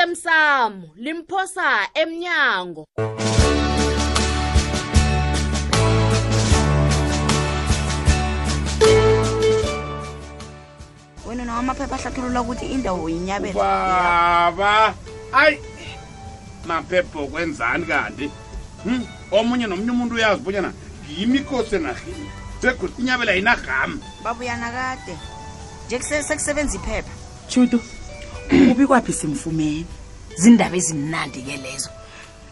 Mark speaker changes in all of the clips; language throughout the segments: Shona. Speaker 1: osemsamo limphosa emnyango
Speaker 2: wena nawo amaphepha ahlathulula ukuthi indawo yinyabela
Speaker 3: baba ayi maphepho kwenzani kanti Hmm? omunye nomunye umuntu uyazi bonyana ngiyimikhosi enahini begoda inyabela yinagama
Speaker 2: babuyanakade nje kuse- sekusebenza iphepha
Speaker 4: shutu ubikwaphi simfumene
Speaker 5: zindaba ezimnandi ke lezo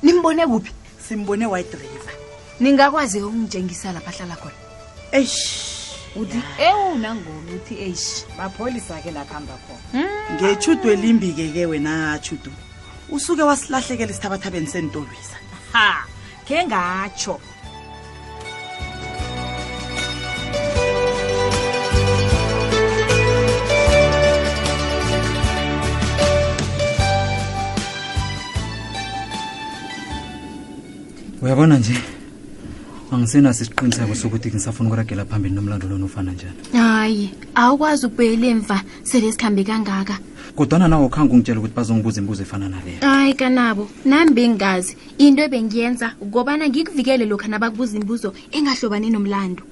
Speaker 5: nimbone kuphi
Speaker 4: simbone white river
Speaker 5: ningakwazi ukungitshengisa lapha ahlala khona
Speaker 4: eish
Speaker 5: uthi ewu nangona uthi eish Hmm.
Speaker 6: bapholisa ke laphamba khona
Speaker 4: ngeshudu elimbi-ke ke wena shudu usuke wasilahlekela esithabathabeni sentolwisa
Speaker 6: ha khe ngatsho
Speaker 7: uyabona nje angisenaso isiqiniseko sokuthi ngisafuna ukuragela phambili nomlando lona ufana njani
Speaker 8: hayi awukwazi ukubuyela emva sele sikhambe kangaka
Speaker 7: kodwana nawo khange ungitshela ukuthi bazongibuza imibuzo efana naleyo
Speaker 8: hayi kanabo nami bengazi into ebengiyenza ngobana ngikuvikele lokhu nabakubuza imibuzo engahlobani nomlando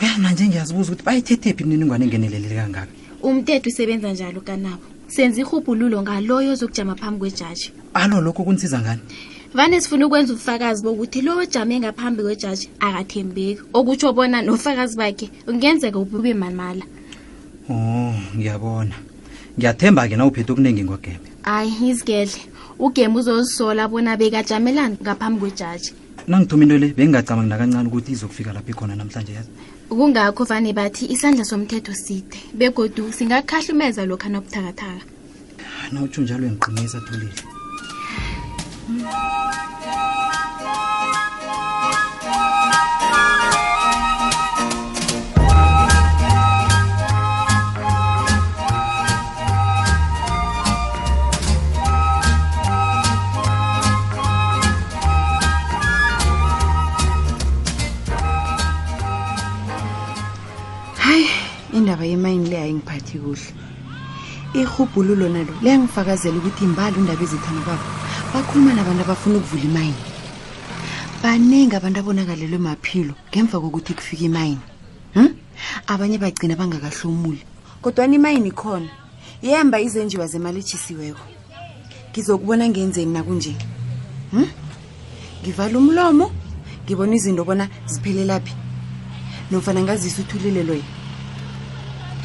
Speaker 7: uyana nje ngiyazibuza ukuthi bayithethephi imininingwane engeneleleli kangaka
Speaker 8: umthetho usebenza njalo kanabo senza irhubhululo ngaloyo ozokujama phambi kwejaji
Speaker 7: alo lokho kunisiza ngani
Speaker 8: vane sifuna ukwenza ubufakazi bokuthi lo ojame ngaphambi kwejaji akathembeki okutsho bona nofakazi bakhe kungenzeka ubube mamala
Speaker 7: o ngiyabona ngiyathemba-ke na uphethe okuningi ngogembe
Speaker 8: hayi izigedle ugema uzozisola bona bekajamelani ngaphambi kwejaji
Speaker 7: nangithuma into le bengingacabangi nakancane ukuthi izokufika lapho ikhona namhlanje yazi
Speaker 8: kungakho vane bathi isandla somthetho side begodu singakuhlahlumeza lokhu nobuthakathaka
Speaker 7: ana utsho njalo uyangiqinisa thulile
Speaker 5: hayi indaba yemayini le ayingiphathi kuhle irhubhululo nalo liyangifakazela ukuthi imbali indaba ezithana babo bakhuluma nabantu abafuna ukuvula imayini baningi abantu abonakalelwe maphilo ngemva kokuthi kufike imayini hm? abanye bagcina bangakahlomuli kodwani imayini khona yemba izenjiwa zemali etshisiweko ngizokubona ngenzeni nakunje hm? ngivala umlomo ngibona izinto bona ziphelelaphi nofana ngazise uthulile loya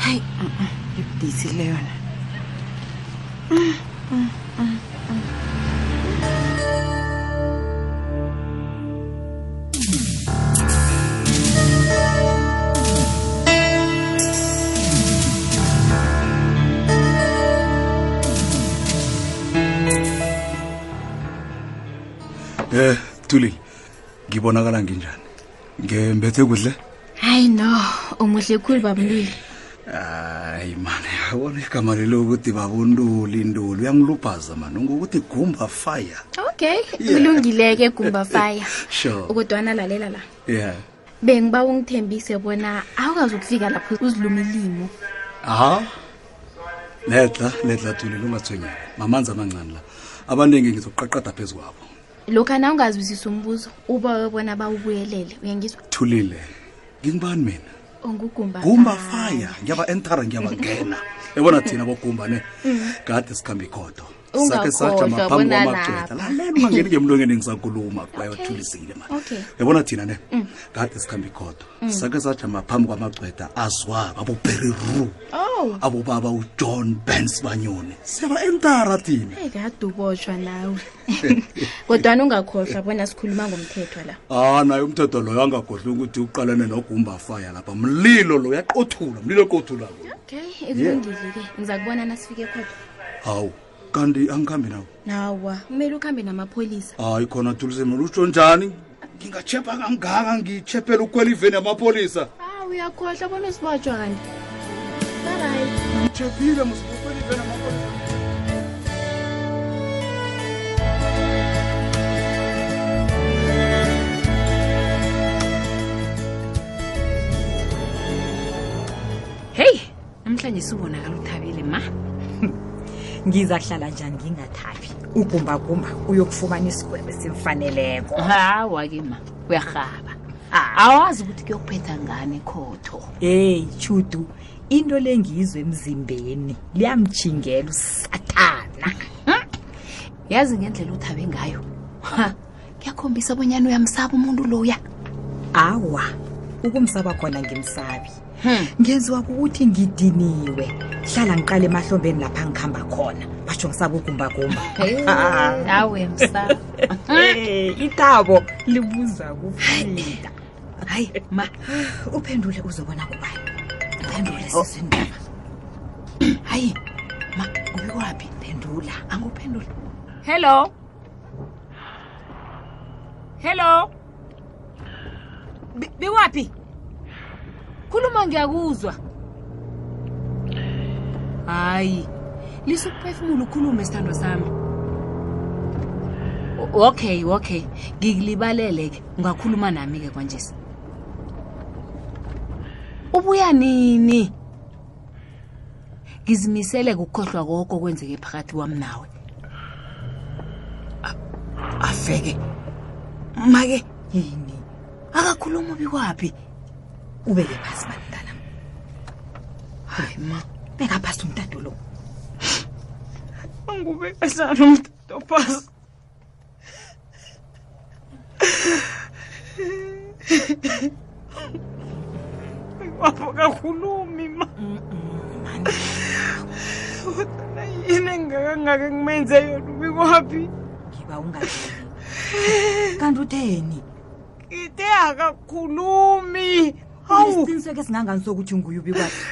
Speaker 5: hayi
Speaker 9: ah,
Speaker 5: ibudisi le yona
Speaker 10: Eh, Thulile. Ngibonakala nginjani? Ngembethe kudle?
Speaker 8: hayi no umuhle khulu babulile
Speaker 10: Hayi man, yabona igama lelo ukuthi babuntuli intuli uyangiluphaza man. Ngokuthi gumba fire.
Speaker 8: okay
Speaker 10: Yeah.
Speaker 8: kulungileke gumba fire
Speaker 10: Sure.
Speaker 8: kodwana lalela la
Speaker 10: Yeah.
Speaker 8: bengiba ungithembise bona awukazi ukufika lapho uziluma ilimo
Speaker 10: Aha. Letla, letla Thulile ungathunyana. Mamanzi amancane la. Abantu engeke ngizoqaqada phezukwabo.
Speaker 8: lokhu na ungazwisisa umbuzo ubawe bona bawubuyelele uyangizwa
Speaker 10: Thulile. Ngingibani mina?
Speaker 8: ungugumba
Speaker 10: gumba fire ngiyaba entera ngiyabangena yabona thina bogumba ne kade sikhambe ikhodo sakhe
Speaker 8: Mm. Ungakhohlwa
Speaker 10: sajama phambi
Speaker 8: bona
Speaker 10: kwamagcwetha
Speaker 8: lapha.
Speaker 10: lalela ungangeni ngemlonyeni ngisakhuluma bayothulisile mani
Speaker 8: Okay.
Speaker 10: yabona thina ne kade sikhambe ikhodo sakhe sajama phambi kwamagcwetha azwaba aboberry roo
Speaker 8: oh
Speaker 10: abobaba ujohn bens banyoni siyaba entara thina
Speaker 8: ekadubotshwa nawe kodwana ungakhohlwa bona sikhuluma ngomthetho la
Speaker 10: ah naye umthetho loyo angagodli ukuthi uqalane nogumba fire lapha mlilo lo uyaqothula mlilo oqothulako
Speaker 8: okay ekulungile-ke ngiza kubona nasifike kodwa
Speaker 10: hawu kanti angikhambi nawo
Speaker 8: nawa kumele ukuhambe namapholisa
Speaker 10: hayi khona thulise mina utsho njani ngingatshepha kangaka ngitshephela ukukhwela iveni yamapolisa
Speaker 8: haw Ah, uyakhohlwa bona usibotshwa kanti Alright.
Speaker 10: ngitshephile musiukhwela iveni yamapolisa
Speaker 5: heyi namhlanje sibonakala uthabile ma
Speaker 11: ngiza kuhlala njani ngingathabi ugumbagumba uyokufumana isigwebo simfaneleko
Speaker 9: hawa-ke ma uyarhaba
Speaker 11: Ah.
Speaker 9: awazi ukuthi kuyokuphetha ngani khotho
Speaker 11: heyi chudu into le ngizwe emzimbeni liyamjingela usathana
Speaker 9: yazi ngendlela uthabe ngayo ha kuyakhombisa abonyana uyamsaba umuntu loya
Speaker 11: awa ukumsaba khona ngimsabi
Speaker 9: Hmm.
Speaker 11: ngenziwa kukuthi ngidiniwe hlala ngiqala emahlombeni lapha ngihamba khona batsho ngisaba ugumbagumba
Speaker 9: awe msaba
Speaker 11: Eh, itabo libuza kufida
Speaker 9: hayi ma
Speaker 11: uphendule uzobona kubani uphendule
Speaker 9: Oh.
Speaker 11: sisindaba
Speaker 9: hayi ma uyiwaphi phendula anguphendula
Speaker 11: hello hello Bi- biwaphi
Speaker 9: khuluma ngiyakuzwa hayi lisa ukuphefumula ukhulume sithandwa sami O- okay okay ngikulibalele-ke ungakhuluma nami-ke kwanjesi ubuya nini ngizimiseleke ukukhohlwa koko kwenzeke phakathi kwami nawe A- afeke make
Speaker 11: yini
Speaker 9: akakhuluma ubikwaphi
Speaker 11: ubeke phasi bantana
Speaker 9: hayi ma
Speaker 11: beka phasi umntado lo ngiba ungadlali kanti utheni
Speaker 4: ite akakhulumi
Speaker 11: isiqiniseko esingangani sokuthi nguye ubikwaphi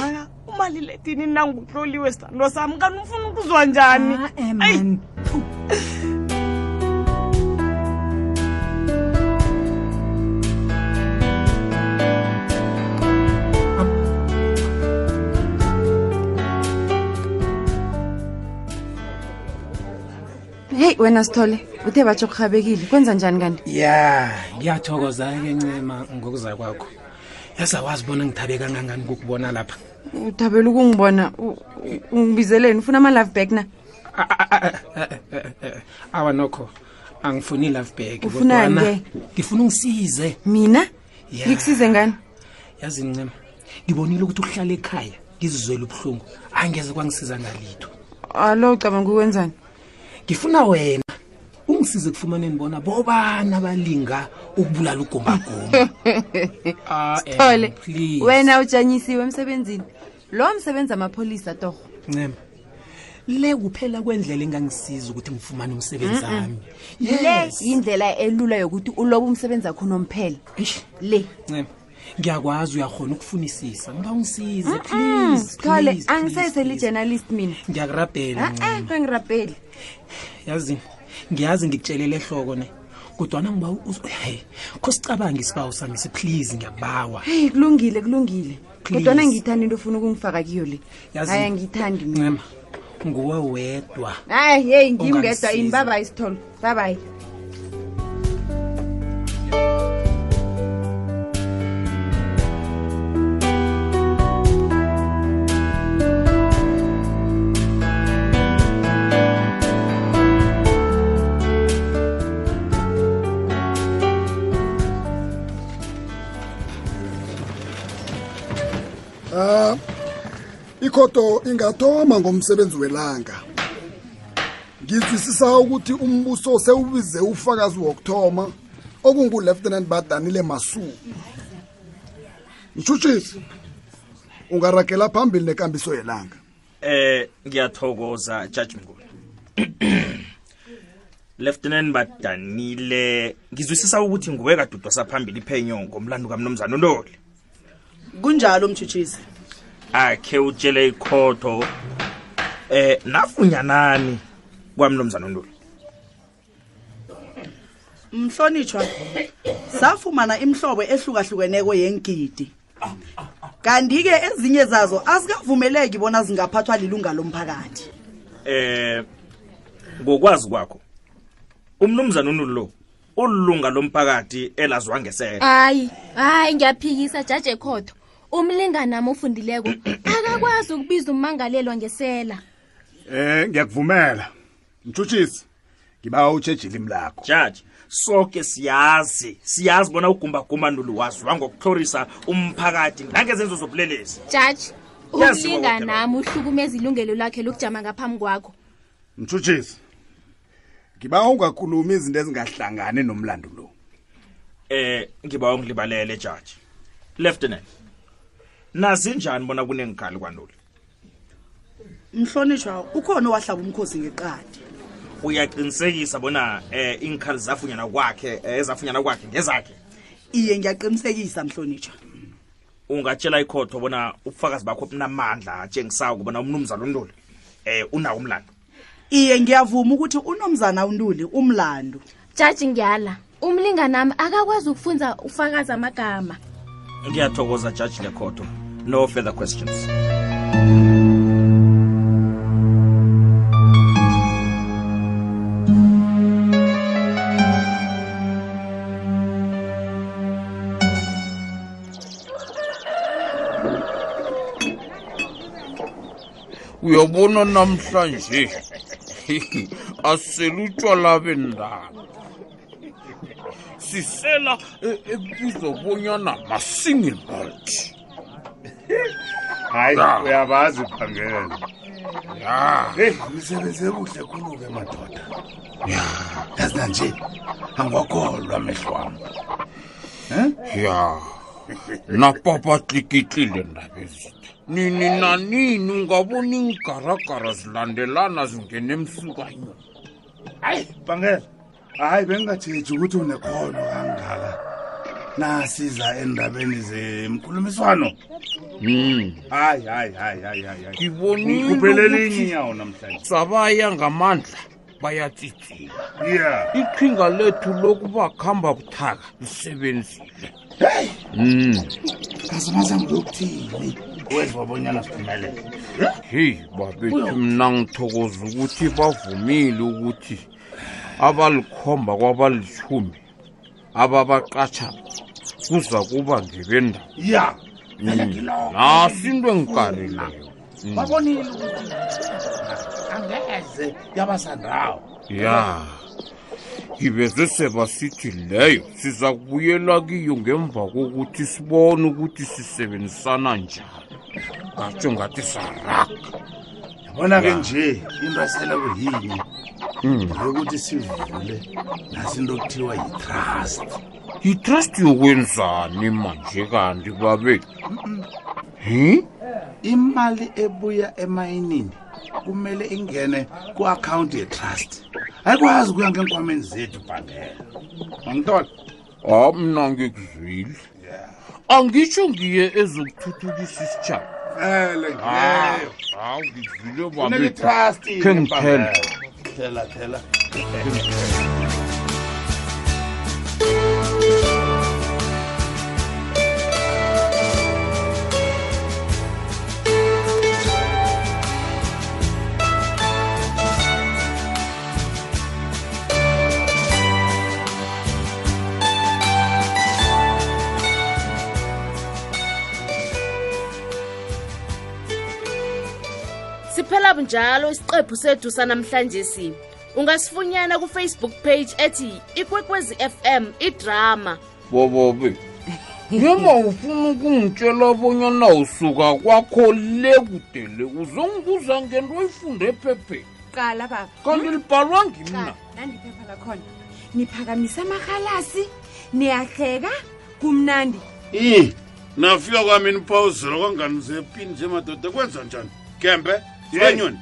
Speaker 4: mara umaliledini nangutloliwe sithandwa sami kanti ufuna ukuzwa njani
Speaker 11: Ah-eh, Ah, eh, man.
Speaker 5: heyi wena sithole uthe batsho kurhabekile kwenza njani kanti
Speaker 12: ya ngiyathokoza-ke ncema ngokuza kwakho yazawazi bona ngithabe kangangani kukubona lapha
Speaker 5: uthabela ukungibona u- u- ungibizeleni ufuna ama-love back na
Speaker 12: A- a- a- a- a- a- a- a- awa nokho angifuni i-love bag
Speaker 5: Ufunani
Speaker 12: kodwana
Speaker 5: ke?
Speaker 12: ngifuna ungisize
Speaker 5: mina
Speaker 12: Ya.
Speaker 5: ngikusize ngani
Speaker 12: yazi ncema ngibonile ukuthi uhlala ekhaya ngizizwele ubuhlungu angeze kwangisiza ngalitho
Speaker 5: alo ucabanga ukwenzani
Speaker 12: ngifuna wena ungisize ekufumaneni bona bobani abalinga ukubulala ugombagomba Ah, em,
Speaker 5: thole
Speaker 12: please.
Speaker 5: wena ujanyisiwe emsebenzini lowo msebenzi amapholisa torho
Speaker 12: ncema le kuphela kwendlela engangisiza ukuthi ngifumane umsebenzi wami
Speaker 5: le yindlela elula yokuthi ulobe umsebenzi wakho nomphela
Speaker 12: Eish,
Speaker 5: le
Speaker 12: ncema ngiyakwazi uyakhona ukufunisisa ngiba ungisize please,
Speaker 5: thole
Speaker 12: Hmm, please, please, please.
Speaker 5: angiseseli-journalist mina eh,
Speaker 12: ngiyakurabhela
Speaker 5: a-a
Speaker 12: ncema
Speaker 5: kwengirabheli
Speaker 12: yazi ngiyazi ngikutshelele ehloko ne kodwana ngiba hey kho sicabange isibawu sami please ngiyabawa
Speaker 5: heyi kulungile kulungile
Speaker 12: Please.
Speaker 5: kodwana ngiyithanda into ofuna ukungifaka kiyo le
Speaker 12: Yazi-
Speaker 5: hayi angiyithandi mina
Speaker 12: ncema nguwe wedwa
Speaker 5: hayi heyi ngim ngedwa ini
Speaker 12: Ungangisiza.
Speaker 5: babayi sithole babayi
Speaker 13: ikhoto ingathoma ngomsebenzi welanga ngizwisisa ukuthi umbuso sewubize ufakazi wokuthoma okungu-lieutenant badanile masu mshutshisi ungaragela phambili nekambiso yelanga
Speaker 14: Eh ngiyathokoza Judge Mnguni. Lieutenant Badanile ngizwisisa ukuthi nguwe kadudwa saphambili iphenyo ngomlando kaMnumzana Ntoli.
Speaker 4: kunjalo mtshutshisi
Speaker 14: Akhe utshele ikhotho eh nafunyanani kwaMnumzana Ntoli.
Speaker 4: mhlonitshwa safumana imhlobo ehlukahlukeneko yengidi kanti-ke ezinye zazo azikavumeleki bona zingaphathwa lilunga lomphakathi
Speaker 14: Eh ngokwazi kwakho uMnumzana uNulu lo ulunga lomphakathi elaziwa ngesele.
Speaker 8: hayi hayi ngiyaphikisa jaje khotho umlinganami ofundileko akakwazi ukubiza ummangalelwa ngesela
Speaker 10: Eh ngiyakuvumela. Mthutshisi. Ngiba utshejile imlakho.
Speaker 7: Judge, soke siyazi, siyazi bona ugumbagumba ndulu waziwa ngokuhlorisa umphakathi nangezenzo zobulelesi.
Speaker 8: jaji
Speaker 7: Yes,
Speaker 8: umlinganami uhlukumeza ilungelo lakhe lokujama ngaphambi kwakho
Speaker 10: Mthutshisi. Ngiba ungakhuluma izinto ezingahlangane nomlando lo.
Speaker 7: Eh, ngibawa ungilibalele judge. Lieutenant. Nazi njani bona kunengikhali kwandulu?
Speaker 15: mhlonishwa ukhona owahlaba umkhosi ngeqadi
Speaker 7: Uyaqinisekisa bona eh ingikhali zafunyana kwakhe, eh, ezafunyana kwakhe ngezakhe.
Speaker 15: iye ngiyaqinisekisa mhlonitshwa
Speaker 7: Ungatshela ikhotho bona ubufakazi bakho bunamandla njengisayo kubona umnumzana uNduli eh unawo umlando.
Speaker 15: iye ngiyavuma ukuthi unomzana untuli umlando
Speaker 8: jaji ngiyala umlinganami akakwazi ukufunza ufakazi amagama
Speaker 7: Ngiyathokoza judge lekhotho. No further questions.
Speaker 12: uyabona namhlanje aselutshwala bendalo sisela e- ebizwa bonyana ma-single malt
Speaker 16: hayi
Speaker 12: Ah.
Speaker 16: uyabazi phangela
Speaker 12: ya
Speaker 10: Hey, nisebenze kuhle khulu ke madoda. Ya, yazina nje. Angwakholwa amehlo wami.
Speaker 12: ya napapatlikitlile ndabezitha nini nanini ungaboni ingaragara zilandelana zingena emsukanyoni
Speaker 10: hayi bangela hayi bengingatheji ukuthi unekhono kangaka nasiza endabeni zemkhulumiswano
Speaker 12: Hmm.
Speaker 16: hayi hayi hayi hayi hayi hayi.
Speaker 12: Ngibonile
Speaker 16: Ngikhuphele
Speaker 12: ukuthi
Speaker 16: elinye inyawo namhlanje
Speaker 12: sabaya ngamandla bayatsitsila
Speaker 16: yeah
Speaker 12: iqhinga lethu lokuba khamba buthaka lisebenzile Hmm.
Speaker 10: kazamazam lokuthini wezwa bonyana siphumelele
Speaker 12: heyi babethi mna ngithokoza ukuthi bavumile ukuthi abalikhomba kwabalithumi ababaqatsha kuza kuba ngebendaba
Speaker 10: ya Mm. Ah,
Speaker 12: nasi into engikarileyo
Speaker 10: babonile ukuthi angeze yabasandawo
Speaker 12: ya ngibeze sebasithi leyo siza kubuyela kiyo ngemva kokuthi sibone ukuthi sisebenzisana njani ngatsho ngathi saraga
Speaker 10: yabona ke
Speaker 12: Ya.
Speaker 10: nje into esele kuyini yokuthi sivule nasinto okuthiwa yi-trust
Speaker 12: yitrust yokwenzani manje kanti babe hi
Speaker 10: imali ebuya emayinini kumele ingene ku-akhawunti ye-trust ayikwazi ukuya ngenkwameni zethu bhangela mangitola
Speaker 12: ha mna ngikuzwile angitsho ngiye ezokuthuthukisa isitshaba
Speaker 10: vele
Speaker 12: Ah,
Speaker 10: ngileyo
Speaker 12: hawu ngizwile
Speaker 10: Kunele-trust
Speaker 12: babe khengithela
Speaker 10: thela thela
Speaker 1: siphela bunjalo isiqephu sethu sanamhlanje si ungasifunyana kufacebook page ethi ikwekwezi fm idrama
Speaker 12: bobobe noma ufuna ukungitshela bonyana usuka kwakho le kude le uzongibuza ngento oyifunde ephepheni
Speaker 5: qala baba
Speaker 12: kanti libhalwa ngimna
Speaker 5: nandiphepha lakhona niphakamisa amarhalasi niyahleka kumnandi
Speaker 16: i nafika kwami niphawuzela kwangani zepini nje madoda kwenza njani gembe sibanyoni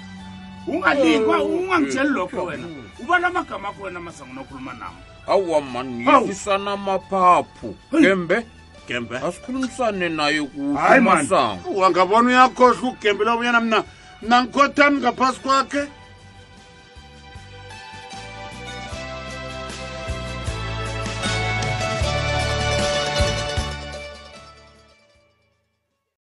Speaker 12: Unganikwa,
Speaker 16: ungangitsheli
Speaker 12: lokho
Speaker 16: wena ubala amagama akho wena masango nokhuluma nami
Speaker 12: awa mani yefisana amaphaphu gembe
Speaker 16: gembe
Speaker 12: asikhulumisane naye kuhle
Speaker 16: hayi mani
Speaker 12: masango
Speaker 16: wangabona uyakhohlwa ukugembela obunyana mna mna ngikhothani ngaphasi kwakhe